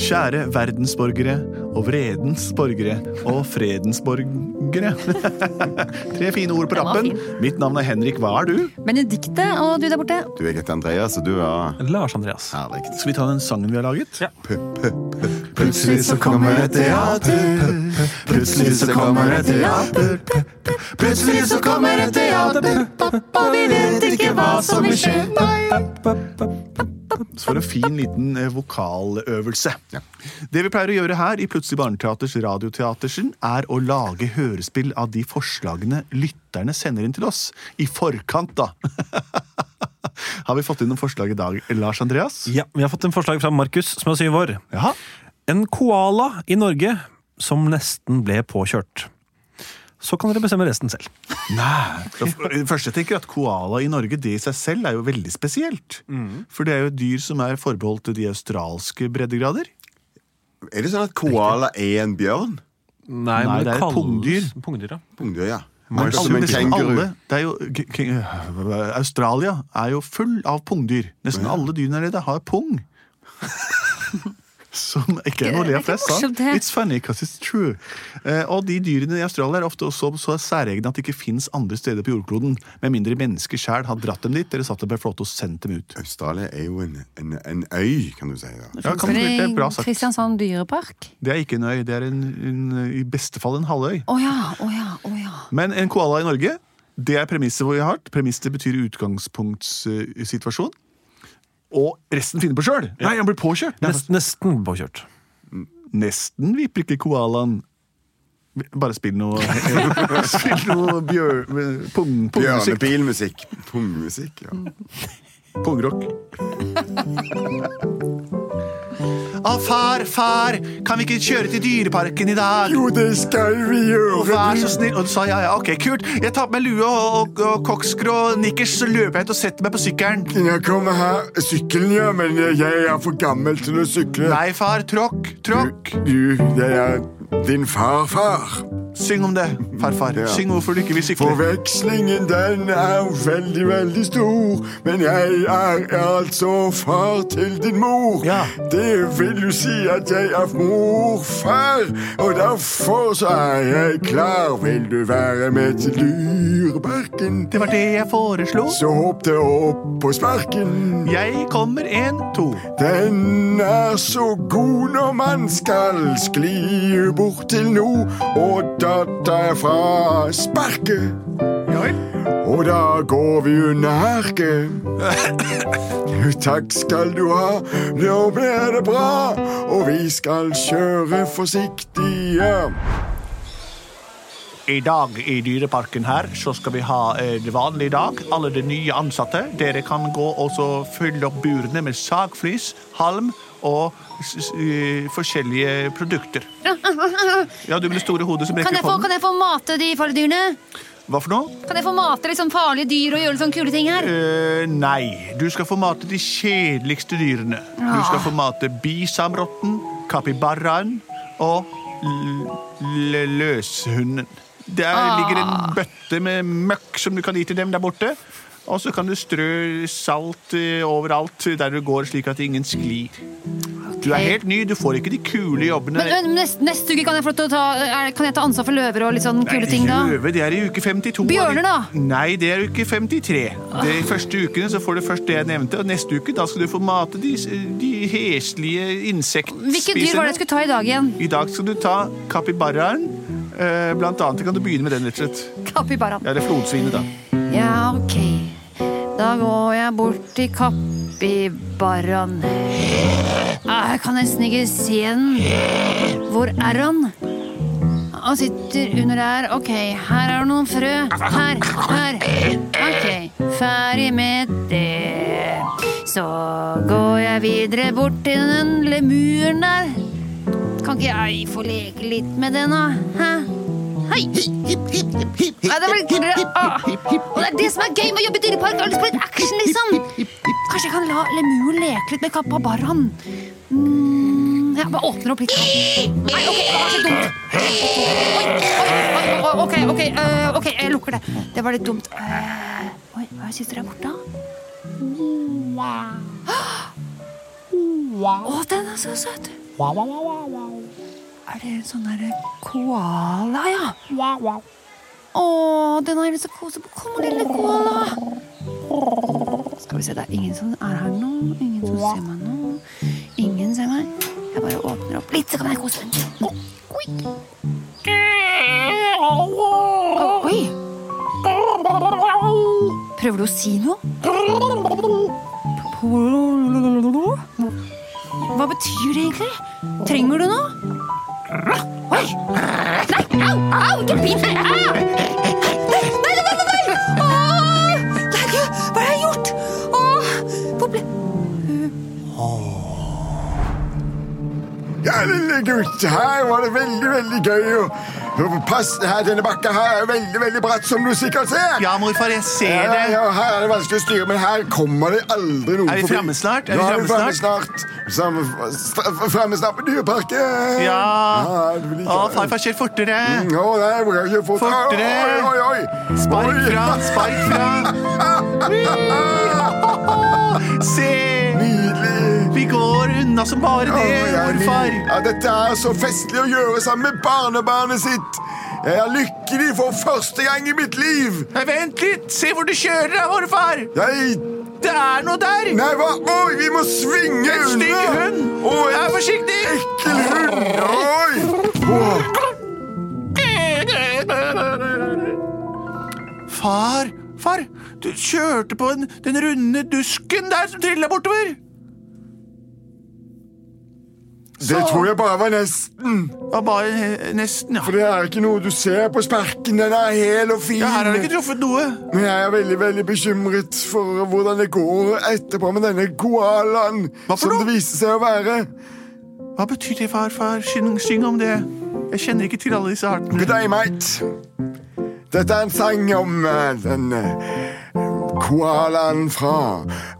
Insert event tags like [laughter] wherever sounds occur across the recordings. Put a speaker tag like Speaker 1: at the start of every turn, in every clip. Speaker 1: Kjære verdensborgere og vredens borgere og fredens borgere. [laughs] Tre fine ord på
Speaker 2: Den var
Speaker 1: rappen. Mitt navn er Henrik, hva er du?
Speaker 2: Benedikte og du der borte.
Speaker 3: Du, jeg heter Andreas, og du er
Speaker 4: Lars Andreas.
Speaker 3: Herlig.
Speaker 1: Skal vi ta den sangen vi har laget?
Speaker 4: Ja.
Speaker 3: Plutselig så kommer det teater. Plutselig så kommer det teater. Plutselig så kommer det teater.
Speaker 2: Og vi vet ikke hva som vil skje.
Speaker 1: For en fin liten eh, vokaløvelse.
Speaker 3: Ja.
Speaker 1: Det vi pleier å gjøre her i Plutselig barneteaters Radioteatersen, er å lage hørespill av de forslagene lytterne sender inn til oss. I forkant, da. [laughs] Har vi fått inn noen forslag i dag, Lars Andreas?
Speaker 4: Ja, Vi har fått en forslag fra Markus, som er syv år.
Speaker 1: Jaha.
Speaker 4: En koala i Norge som nesten ble påkjørt. Så kan dere bestemme resten selv.
Speaker 1: Nei. Det første jeg tenker er at Koala i Norge det i seg selv er jo veldig spesielt. For det er jo et dyr som er forbeholdt de australske breddegrader.
Speaker 3: Er det sånn at koala er en bjørn?
Speaker 4: Nei,
Speaker 1: men det er et
Speaker 4: kalles-
Speaker 1: pungdyr.
Speaker 4: Pungdyr, ja.
Speaker 3: Pungdyr, ja.
Speaker 1: Men
Speaker 3: Akkurat som
Speaker 1: alle-
Speaker 3: en
Speaker 1: nesten
Speaker 3: kenguru.
Speaker 1: alle- det er jo, k- k- Australia er jo full av pungdyr. Nesten alle dyrene der det har pung. [laughs] Som ikke er noe å le av
Speaker 2: Det er ikke
Speaker 1: flest av.
Speaker 2: morsomt, det.
Speaker 1: It's funny because it's true. Eh, og de dyrene i Australia er ofte også så særegne at de ikke fins andre steder på jordkloden. Med mindre mennesker sjæl har dratt dem dit eller satt dem på en flåte og sendt dem ut.
Speaker 3: Australia er jo en, en, en øy, kan du si. da.
Speaker 1: Ja, kan du
Speaker 2: det
Speaker 1: virkelig-
Speaker 2: i
Speaker 1: bra sagt.
Speaker 2: Kristiansand dyrepark?
Speaker 1: Det er ikke en øy, det er en, en, i beste fall en halvøy.
Speaker 2: Å ja, å ja, å ja.
Speaker 1: Men en koala i Norge, det er premisset hvor vi har hatt. Premiss det betyr utgangspunktssituasjon. Og resten finner på sjøl! Nei, han blir påkjørt! Nei,
Speaker 4: Nest, nesten påkjørt.
Speaker 1: nesten vipper ikke koalaen. Bare spill noe [laughs] Spill noe bjør... Pung, pungmusikk.
Speaker 3: Bjørnebilmusikk. Pungmusikk, ja.
Speaker 1: Pungrock. Å, far, far, kan vi ikke kjøre til Dyreparken i dag?
Speaker 3: Jo, det skal vi
Speaker 1: Og
Speaker 3: gjøre.
Speaker 1: vær så snill. Og du sa ja, ja, ok, kult. Jeg tar på meg lue og, og, og kokskrå og nikkers, så løper jeg ut og setter meg på sykkelen.
Speaker 3: Jeg kommer her. Sykkelen, ja, men jeg er for gammel til å sykle.
Speaker 1: Nei, far, tråkk, tråkk.
Speaker 3: Du, jeg er din farfar.
Speaker 1: Syng om det, farfar.
Speaker 3: Ja.
Speaker 1: Syng hvorfor du ikke vil sykle.
Speaker 3: Forvekslingen den er veldig, veldig stor. Men jeg er altså far til din mor.
Speaker 1: Ja.
Speaker 3: Det vil jo si at jeg er morfar, og derfor så er jeg klar. Vil du være med til Dyreparken?
Speaker 1: Det var det jeg foreslo.
Speaker 3: Så hopp det opp på sparken.
Speaker 1: Jeg kommer en, to.
Speaker 3: Den er så god når man skal skli bort til no og datta fra sparket.
Speaker 1: Ja vel.
Speaker 3: Og da går vi under herket. [laughs] Takk skal du ha, nå blir det bra. Og vi skal kjøre forsiktige.
Speaker 1: I dag i Dyreparken her så skal vi ha eh, en vanlig dag. Alle de nye ansatte. Dere kan gå og så fylle opp burene med sagflis, halm og s s eh, forskjellige produkter. Ja, du med det store hodet som
Speaker 2: Kan
Speaker 1: rekker
Speaker 2: jeg, få,
Speaker 1: opp
Speaker 2: kan
Speaker 1: hånden.
Speaker 2: jeg få mate de farlige dyrene?
Speaker 1: Hva for noe?
Speaker 2: Kan jeg få mate liksom farlige dyr og gjøre litt sånn kule ting her?
Speaker 1: Eh, nei. Du skal få mate de kjedeligste dyrene.
Speaker 2: Ah.
Speaker 1: Du skal få mate bisamrotten, kapibaraen og l- l- løshunden. Der
Speaker 2: Ah.
Speaker 1: ligger en bøtte med møkk som du kan gi til dem der borte. Og så kan du strø salt eh, overalt der du går, slik at ingen sklir. Du er helt ny, du får ikke de kule jobbene.
Speaker 2: Men, men neste, neste uke kan jeg, få lov til å ta, er, kan jeg ta ansvar for løver og litt sånn kule ting da?
Speaker 1: Løve, det er i uke 52.
Speaker 2: Bjørner, da?
Speaker 1: Nei, det er uke 53. De første ukene så får du først det jeg nevnte, og neste uke da skal du få mate de, de heslige insektspiserne.
Speaker 2: Hvilke dyr var det jeg skulle ta i dag igjen?
Speaker 1: I dag skal du ta kapibaraen. Eh, Blant annet kan du begynne med den, rett og slett.
Speaker 2: Kapibaraen.
Speaker 1: Ja, det er flodsvinet, da.
Speaker 2: Ja, ok. Da går jeg bort til kapibaraen. Ah, Jeg kan nesten ikke se den. Hvor er han? Han sitter under der. Ok, her er det noen frø. Her, her. Ok, ferdig med det. Så går jeg videre bort til den lemuren der. Kan ikke jeg få leke litt med den, da? Hæ? Hei! Nei, det var litt ah. Og det er det som er gøy med å jobbe i dyrepark. Jeg har lyst på litt action, liksom. Kanskje jeg kan la lemuren leke litt med kapabaraen. Mm, jeg bare åpner opp litt. Nei, OK, det var så dumt. Oi, oi, oi, oi, OK, ok, eh, ok, jeg lukker det. Det var litt dumt. Eh, oi, hva sitter der borte? Å, den er så søt.
Speaker 5: Wow, wow, wow, wow, wow.
Speaker 2: Er det en sånn derre koala, ja?
Speaker 5: Wow, wow.
Speaker 2: Å, den har jeg lyst til å kose på. Kom, lille koala. Skal vi se, det er ingen som er her nå. Ingen som ser meg nå. Ingen ser meg. Jeg bare åpner opp litt, så kan jeg kose meg. Å, Oi! Å, Oi! Prøver du å si noe? Hva betyr det egentlig? Trenger du noe? Oi! Nei, au, au, ikke bit meg! Au! Nei, nei, nei, nei, nei! Åh! Herregud, hva har jeg gjort? Åh, hvor ble...
Speaker 3: Ja, lille gutt, her var det veldig, veldig gøy å å- Pass her, denne bakka her er veldig, veldig bratt, som du sikkert ser.
Speaker 1: Ja, morfar, jeg ser
Speaker 3: Ja,
Speaker 1: det.
Speaker 3: ja, her er det vanskelig å styre, men her kommer det aldri noen
Speaker 1: Er vi
Speaker 3: forbi.
Speaker 1: fremme snart? Er vi
Speaker 3: Nå er vi
Speaker 1: fremme
Speaker 3: fremme snart. Samme, st- fremme snart på Dyreparken.
Speaker 1: Ja.
Speaker 3: det blir
Speaker 1: Å,
Speaker 3: ikke-
Speaker 1: farfar, kjør fortere.
Speaker 3: Å, nei, jeg bruker ikke fort.
Speaker 1: Fortere.
Speaker 3: Oi, oi, oi.
Speaker 1: Spark
Speaker 3: Oi.
Speaker 1: fra, spark fra. Se!
Speaker 3: [laughs] Nydelig.
Speaker 1: Vi går unna som bare
Speaker 3: Å,
Speaker 1: det,
Speaker 3: jeg er nydelig.
Speaker 1: morfar.
Speaker 3: Ja, dette er så festlig å gjøre sammen med barnebarnet sitt. Jeg er lykkelig for første gang i mitt liv.
Speaker 1: Nei, vent litt! Se hvor du kjører, da, morfar!
Speaker 3: Jeg...
Speaker 1: Det er noe der!
Speaker 3: Nei, hva? Oi, vi må svinge
Speaker 1: En stygg
Speaker 3: unna.
Speaker 1: hund!
Speaker 3: Oi,
Speaker 1: Vær forsiktig!
Speaker 3: ekkel hund. Oi.
Speaker 1: Far, far, du kjørte på en, den runde dusken der som trilla bortover.
Speaker 3: Det tror jeg bare var nesten.
Speaker 1: Ja, bare eh, nesten, ja.
Speaker 3: For det er ikke noe du ser på sparken. Den er hel og fin.
Speaker 1: ja. Her har du ikke truffet noe.
Speaker 3: Men jeg er veldig veldig bekymret for hvordan det går etterpå med denne koalaen.
Speaker 1: Hva for
Speaker 3: Som
Speaker 1: noe?
Speaker 3: det viste seg å være.
Speaker 1: Hva betyr det, far, far? Syng, syng om det. Jeg kjenner ikke til alle disse artene.
Speaker 3: Good day, mate. Dette er en sang om eh, den eh, koalaen fra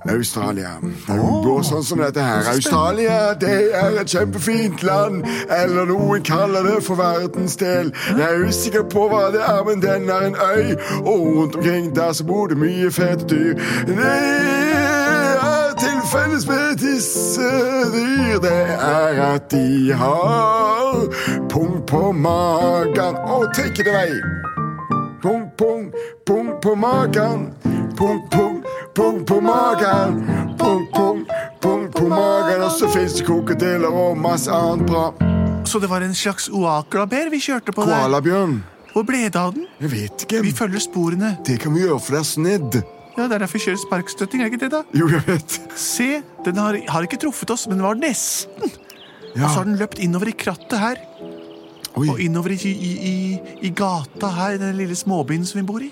Speaker 3: Australia. Det er jo bare sånn som dette her. Australia det er et kjempefint land, eller noen kaller det for verdensdel. Jeg er usikker på hva det er, men den er en øy, og rundt omkring der så bor det mye fete dyr. Det er til felles med disse dyr, det er at de har pung på magen og take it away. Pung, pung, pung på magen. Pung, pung, pung på magen. Pung, pung, pung på magen. Og så fins det krokodiller og masse annet bra.
Speaker 1: Så det var en slags oaklaber vi kjørte på der.
Speaker 3: Koalabjørn.
Speaker 1: Hvor ble det av den?
Speaker 3: Jeg vet
Speaker 1: Vi
Speaker 3: ikke.
Speaker 1: følger sporene.
Speaker 3: Det kan vi gjøre, for det er snedd.
Speaker 1: Ja, Det er derfor vi kjører sparkstøtting, er ikke det, da?
Speaker 3: Jo, jeg vet.
Speaker 1: Se, den har, har ikke truffet oss, men den var nesten. Og
Speaker 3: Ja.
Speaker 1: så har den løpt innover i krattet her, og
Speaker 3: Oi,
Speaker 1: innover i, i, i, i gata her, i den lille småbyen som vi bor i.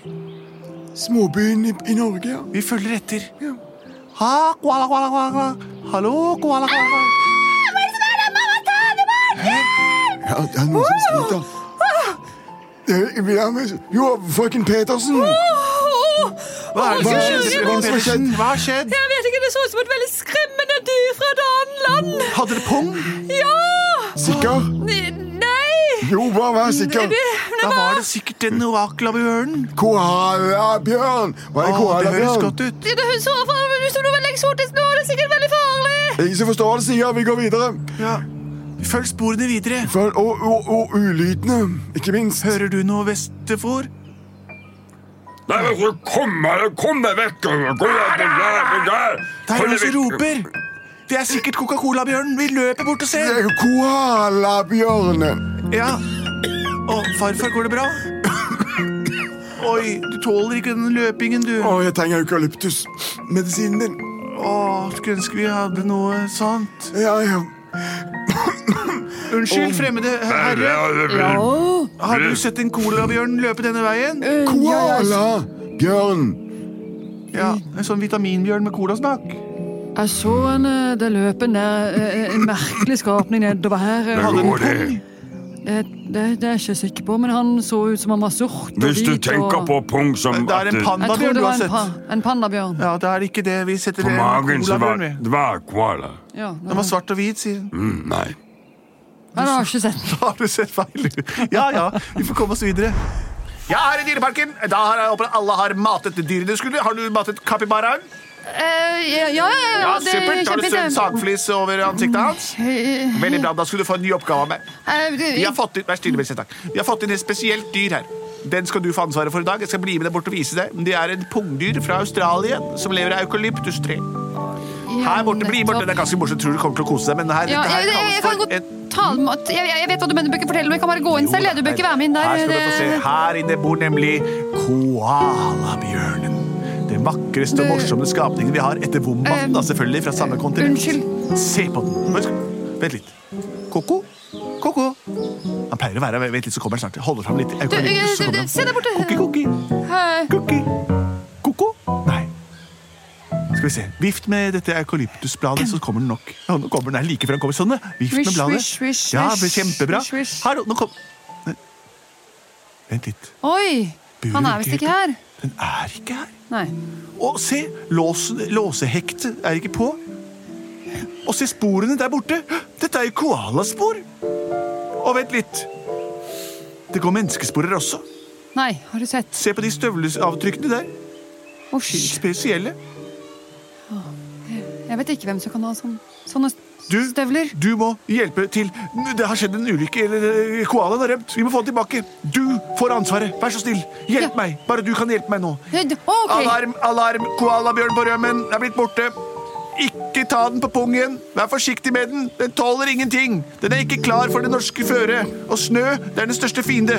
Speaker 3: småbyen i, i Norge, ja.
Speaker 1: Vi følger etter. Ha, koala, koala, koala, koala. Hallo, koala, koala, koala.
Speaker 3: Ja, det er noen som sliter. Det- vi er med- Jo, frøken Petersen!
Speaker 1: Hva er det
Speaker 3: Hva
Speaker 1: som
Speaker 3: er
Speaker 1: skjedde,
Speaker 3: det-
Speaker 1: frøken
Speaker 3: hva som har skjedd?
Speaker 1: Pedersen? Hva har skjedd?
Speaker 6: Jeg vet ikke, det så ut som et veldig skremmende dyr fra et annet land.
Speaker 1: Hadde det pung?
Speaker 6: Ja!
Speaker 3: Sikker?
Speaker 6: N- Nei!
Speaker 3: Jo, bare vær sikker.
Speaker 6: Det,
Speaker 1: Da var det sikkert den ovaklabjørnen.
Speaker 3: Koalabjørn! Var
Speaker 1: Å,
Speaker 3: det
Speaker 1: det høres
Speaker 3: koalabjørn?
Speaker 1: godt ut.
Speaker 6: det, det så for- ut som noe veldig eksotisk nå. Det er sikkert veldig farlig.
Speaker 3: Ingen som forstår det, sier vi går videre.
Speaker 1: Ja. Følg sporene videre.
Speaker 3: For, og, og, og ulydene, ikke minst.
Speaker 1: Hører du noe, Vestefor?
Speaker 7: Kom deg kom deg vekk! Gå deg vekk!
Speaker 1: Der er noen som roper. Det er sikkert Coca-Cola-bjørnen. Vi løper bort og ser.
Speaker 3: Det er Koalabjørnen.
Speaker 1: Ja. Å, farfar, går det bra? Oi, du tåler ikke den løpingen, du.
Speaker 3: Å, jeg trenger eukalyptusmedisinen din.
Speaker 1: Å, skulle ønske vi hadde noe sånt.
Speaker 3: Ja, ja.
Speaker 1: Unnskyld, fremmede herre.
Speaker 7: Herre,
Speaker 1: Har du sett en colabjørn løpe denne veien?
Speaker 3: Koalabjørn.
Speaker 1: Ja, En sånn vitaminbjørn med colasmak.
Speaker 6: Jeg så en, eh, det løp en, merkelig skapning nedover her. eh,
Speaker 1: Hadde den
Speaker 7: går det.
Speaker 1: pung?
Speaker 6: Det, er jeg ikke sikker på, men han så ut som han var sort
Speaker 7: Hvis du tenker på pung som
Speaker 1: Det er en
Speaker 7: at-
Speaker 6: Jeg tror
Speaker 1: pandabjørn
Speaker 6: det
Speaker 1: du
Speaker 6: var
Speaker 1: har
Speaker 6: en,
Speaker 1: sett.
Speaker 6: pandabjørn.
Speaker 1: Ja, det er ikke det. Vi setter
Speaker 7: På
Speaker 1: det
Speaker 7: magen så var
Speaker 1: colabjørn, vi.
Speaker 7: det var koala.
Speaker 1: Den var svart og hvit, sier den.
Speaker 7: Mm, nei.
Speaker 6: Han har ikke sett
Speaker 1: Har du sett feil? Ja ja, vi får komme oss videre. Jeg er i dyreparken. Da har jeg håper alle har matet dyrene de skulle. Har du matet kapibaraen?
Speaker 6: Eh, ja, ja, ja,
Speaker 1: Ja,
Speaker 6: det er
Speaker 1: Supert. Har du strødd
Speaker 6: kjempefint.
Speaker 1: sagflis over ansiktet hans?
Speaker 6: Eh,
Speaker 1: Veldig bra, Da skal du få en ny oppgave av meg.
Speaker 6: eh, det-
Speaker 1: Vi har fått inn, vær stille, Belseth, takk. Vi har fått inn et spesielt dyr her. Den skal du få ansvaret for i dag. Jeg skal bli med deg bort og vise deg. Det er et pungdyr fra Australia som lever i eukalyptustre.
Speaker 6: eh, ja,
Speaker 1: Her borte, bli borte.
Speaker 6: nettopp.
Speaker 1: Det er ganske morsomt. Tror du kommer til å kose deg, men her,
Speaker 6: Ja,
Speaker 1: dette
Speaker 6: jeg,
Speaker 1: her
Speaker 6: jeg, jeg,
Speaker 1: kalles
Speaker 6: kan
Speaker 1: for
Speaker 6: godt
Speaker 1: et
Speaker 6: ta den med. Jeg, jeg vet hva du mener, du bør ikke fortelle meg. Jeg kan bare gå inn selv. jeg. Du bør ikke være med inn der.
Speaker 1: Her skal du få se.
Speaker 6: Det-
Speaker 1: Her inne bor nemlig koalabjørnen. Den vakreste og
Speaker 6: Du-
Speaker 1: morsomme skapningen vi har etter vommaten, da, selvfølgelig, fra samme kontinent.
Speaker 6: unnskyld.
Speaker 1: Se på den. Vent, vent litt. Koko? Koko? Han pleier å være Vent litt, så kommer han snart. Jeg Holder fram litt
Speaker 6: Du, eh,
Speaker 1: eukalyptus. så
Speaker 6: du,
Speaker 1: kommer
Speaker 6: du,
Speaker 1: han.
Speaker 6: se der borte.
Speaker 1: Koki, koki.
Speaker 6: Eh,
Speaker 1: Koki. Koko? Nei. Skal vi se. Vift med dette eukalyptusbladet, så kommer den nok. Ja, nå kommer den her like før den kommer. Sånn, ja. Vift med
Speaker 8: Swish,
Speaker 1: bladet.
Speaker 8: swish, swish,
Speaker 1: Ja,
Speaker 8: swish,
Speaker 1: kjempebra.
Speaker 8: swish, swish.
Speaker 1: Her, nå kom... Vent litt.
Speaker 6: Oi! Han er visst ikke her.
Speaker 1: Den er ikke her.
Speaker 6: Nei.
Speaker 1: Og se, låsen, låsehektet er ikke på. Og se sporene der borte. Dette er jo koalaspor. Og vent litt. Det går menneskesporer også.
Speaker 6: Nei, har du sett?
Speaker 1: Se på de støvleavtrykkene der.
Speaker 6: Å, skyld.
Speaker 1: Spesielle.
Speaker 6: Jeg vet ikke hvem som kan ha sånn, sånne
Speaker 1: Du,
Speaker 6: støvler.
Speaker 1: du må hjelpe til. Det har skjedd en ulykke. eller eh, Koalaen har rømt. Vi må få den tilbake. Du får ansvaret. Vær så snill. Hjelp
Speaker 6: Ja.
Speaker 1: meg. Bare du kan hjelpe meg nå.
Speaker 6: Eh, d- å, ok.
Speaker 1: Alarm, alarm, koalabjørn på rømmen er blitt borte. Ikke ta den på pungen. Vær forsiktig med den. Den tåler ingenting. Den er ikke klar for det norske føret. Og snø, det er den største fiende.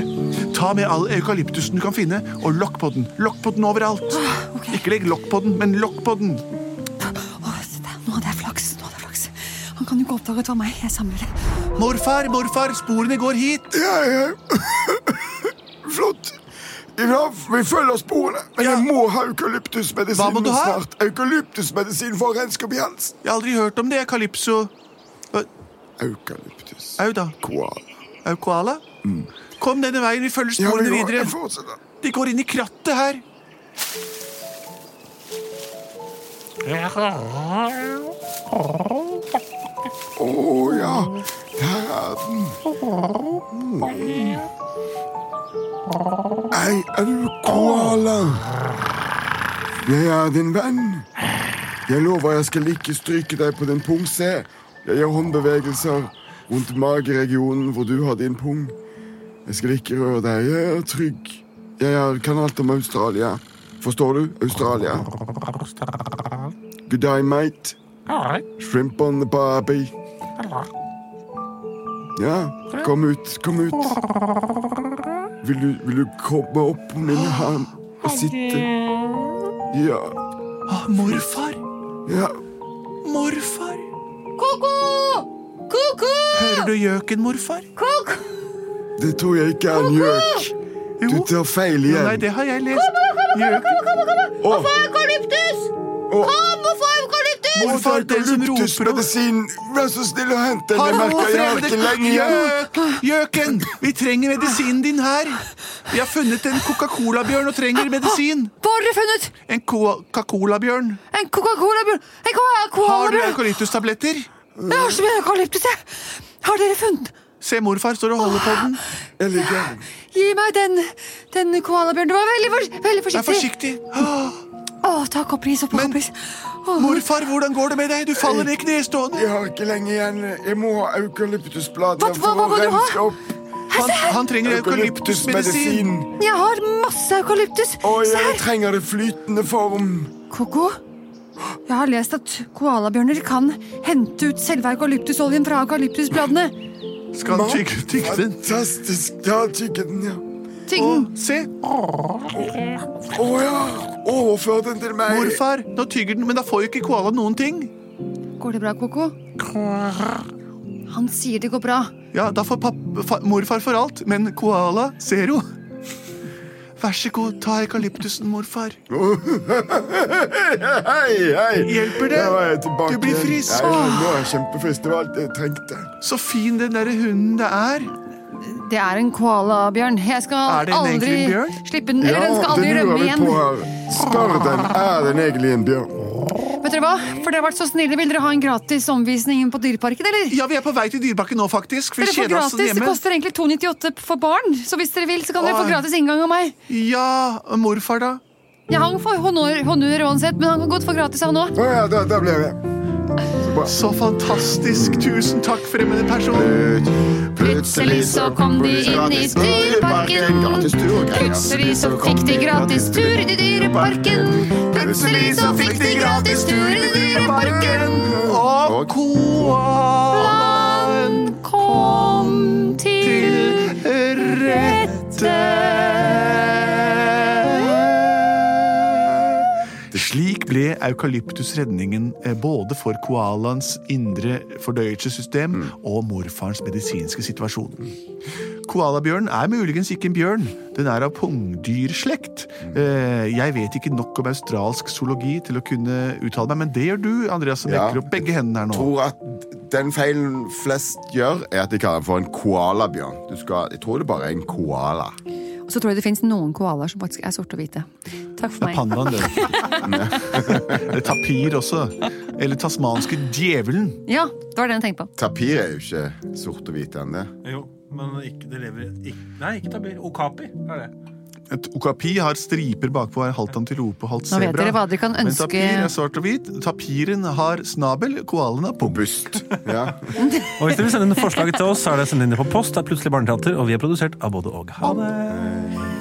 Speaker 1: Ta med all eukalyptusen du kan finne, og lokk på den. Lokk på den overalt.
Speaker 6: Ah,
Speaker 1: Ikke legg lokk på den, men lokk på den.
Speaker 6: Å, se der. Nå hadde jeg flaks. Nå hadde jeg flaks. Han kan jo ikke oppdage at det var meg. Jeg samler det.
Speaker 1: Morfar, morfar, sporene går hit.
Speaker 3: Ja, ja. [laughs] Flott. Vi har- Vi følger sporene, men
Speaker 1: Ja.
Speaker 3: jeg må ha
Speaker 1: Hva må
Speaker 3: eukalyptusmedisin
Speaker 1: du ha?
Speaker 3: snart. Eukalyptusmedisin for å renske opp i halsen.
Speaker 1: Jeg har aldri hørt om det, Calypso.
Speaker 3: Eukalyptus.
Speaker 1: Au da.
Speaker 3: Koala.
Speaker 1: Au, koala? Kom denne veien, vi følger
Speaker 3: Mm. Ja,
Speaker 1: sporene
Speaker 3: vi må-
Speaker 1: videre.
Speaker 3: jeg fortsetter.
Speaker 1: De går inn i krattet her.
Speaker 3: Å ja, Mm. der er den. Hei, er du koala? Jeg er din venn. Jeg lover jeg skal ikke stryke deg på din pung, se. Jeg gjør håndbevegelser rundt mageregionen hvor du har din pung. Jeg skal ikke røre deg. Jeg er trygg. Jeg er, kan alt om Australia. Forstår du? Australia. Good day, mate. Shrimp on the barbie. Ja, kom ut, kom ut. Vil du, vil du komme opp på min arm og sitte? Ja,
Speaker 1: Å, Ah, morfar,
Speaker 3: ja.
Speaker 1: morfar.
Speaker 6: Koko! Koko!
Speaker 1: Hører du gjøken, morfar?
Speaker 6: Koko!
Speaker 3: Det tror jeg ikke er en gjøk. Du
Speaker 1: Jo.
Speaker 3: tar feil
Speaker 1: Jo, Nei,
Speaker 3: igjen.
Speaker 1: det har jeg lest. Gjøken.
Speaker 3: Å,
Speaker 6: Eukalyptus!
Speaker 3: å,
Speaker 6: Hvorfor eukalyptus?
Speaker 1: Morfar, den som roper og
Speaker 3: eukalyptusmedisin. Vær så snill å hente den. Jeg merker jeg har ikke lenge igjen.
Speaker 1: Gjøk! Gjøken! Vi trenger medisinen din her. Vi har funnet en Coca-Cola-bjørn og trenger medisin.
Speaker 6: Hva har dere funnet?
Speaker 1: En Coca-Cola-bjørn.
Speaker 6: En Coca-Cola-bjørn? En
Speaker 1: Har du
Speaker 6: Coca-Cola-bjørn?
Speaker 1: eukalyptustabletter?
Speaker 6: Jeg har så mye eukalyptus, jeg. Har dere funnet
Speaker 1: Se, morfar står og holder på den.
Speaker 3: Jeg ligger her.
Speaker 6: Gi meg den, den koalabjørnen. Du var veldig, for, veldig
Speaker 1: Vær
Speaker 6: forsiktig.
Speaker 1: forsiktig. Ah, Åh,
Speaker 6: Å, ta kopris og
Speaker 1: Men-
Speaker 6: kopris. Å,
Speaker 1: Morfar, hvordan går det med deg? Du faller i knestående.
Speaker 3: Jeg har ikke lenge igjen. Jeg må ha
Speaker 6: Hva-
Speaker 3: eukalyptusblader
Speaker 6: hva-
Speaker 3: for
Speaker 6: hva
Speaker 3: å
Speaker 6: må du ha?
Speaker 3: renske opp
Speaker 1: Han, han trenger eukalyptusmedisin.
Speaker 3: eukalyptusmedisin.
Speaker 6: Jeg har masse eukalyptus.
Speaker 3: Og
Speaker 6: Se
Speaker 3: jeg
Speaker 6: her.
Speaker 3: trenger det flytende form.
Speaker 6: Koko, jeg har lest at koalabjørner kan hente ut selve eukalyptusoljen fra eukalyptusbladene.
Speaker 1: Skal han tygge tygge den?
Speaker 3: Fantastisk. Ja, tygge den, ja.
Speaker 6: Tyggen.
Speaker 1: Se,
Speaker 3: Å ja. Overfør den til meg.
Speaker 1: morfar, nå tygger den, men da får jo ikke koala noen ting.
Speaker 6: Går det bra, Koko? Han sier det går bra.
Speaker 1: Ja, da får papp- fa morfar for alt, men koala zero. Vær så god, ta eukalyptusen, morfar.
Speaker 3: [laughs] Hei, hei.
Speaker 1: Hjelper det?
Speaker 3: Der var jeg tilbake.
Speaker 1: Du blir
Speaker 3: igjen.
Speaker 1: frisk.
Speaker 3: Nei, nå er jeg kjempefrisk. Det var alt jeg trengte.
Speaker 1: Så fin den derre hunden det er.
Speaker 6: Det er en koalabjørn. Jeg
Speaker 1: Er
Speaker 6: skal
Speaker 1: det en
Speaker 6: aldri
Speaker 1: egentlig en bjørn?
Speaker 6: slippe den. Eller den skal aldri
Speaker 3: det
Speaker 6: rømme
Speaker 3: lurer vi
Speaker 6: igjen.
Speaker 3: på her. Spør den, er den egentlig en bjørn?
Speaker 6: Vet dere hva? For dere har vært så snille. Vil dere ha en gratis omvisning på Dyreparken, eller?
Speaker 1: Ja, vi er på vei til Dyrebakken nå, faktisk. for Vi
Speaker 6: Dere får
Speaker 1: kjeder oss
Speaker 6: gratis, Det
Speaker 1: hjemme.
Speaker 6: koster egentlig 298 for barn, så hvis dere vil, så kan dere
Speaker 1: Åh.
Speaker 6: få gratis inngang av meg.
Speaker 1: Ja, morfar, da?
Speaker 2: Ja, han får honnør, honnør uansett, men han kan godt få gratis, han òg.
Speaker 3: Å ja, da, da blir jeg
Speaker 1: Så fantastisk. Tusen takk, fremmede person.
Speaker 3: Ut.
Speaker 2: Plutselig så kom de inn i dyreparken.
Speaker 3: Gratis tur og greier.
Speaker 2: Plutselig så fikk de gratis tur i dyreparken. Plutselig så fikk de gratis tur i dyreparken.
Speaker 1: Og koalaen
Speaker 2: Han kom til
Speaker 1: til rette. Slik ble eukalyptus redningen eh, både for koalaens indre fordøyelsessystem og morfarens medisinske situasjon. Koalabjørnen er muligens ikke en bjørn. Den er av pungdyrslekt. Eh, Jeg vet ikke nok om australsk zoologi til å kunne uttale meg, men det gjør du, Andreas, som
Speaker 3: Ja.
Speaker 1: rekker opp begge hendene her nå.
Speaker 3: tror at den feilen flest gjør, er at de kaller den for en koalabjørn. Du skal, jeg tror det bare er en koala.
Speaker 2: Og så tror jeg det fins noen koalaer som faktisk er sorte og hvite. Takk for
Speaker 1: Det er
Speaker 2: meg.
Speaker 1: pandaen, det.
Speaker 2: [laughs]
Speaker 1: Eller tapir også. Eller tasmanske djevelen.
Speaker 2: Ja, det var det jeg tenkte på.
Speaker 3: Tapir er jo ikke sort og hvit ennå.
Speaker 4: Jo, men ikke, det lever ikke, Nei, ikke tabir. Okapi er det.
Speaker 1: Et okapi har striper bakpå, er halvt antilope og halvt
Speaker 2: Nå
Speaker 1: sebra.
Speaker 2: vet dere hva dere kan
Speaker 1: Men
Speaker 2: ønske-
Speaker 1: tapir er svart og hvit. Tapiren har snabel, koalaen har pung.
Speaker 3: Bust. Ja.
Speaker 4: Og hvis dere vil sende inn forslag til oss, så er det å sende inn det på post. Det er plutselig barneteater, og vi er produsert av både og. Ha det!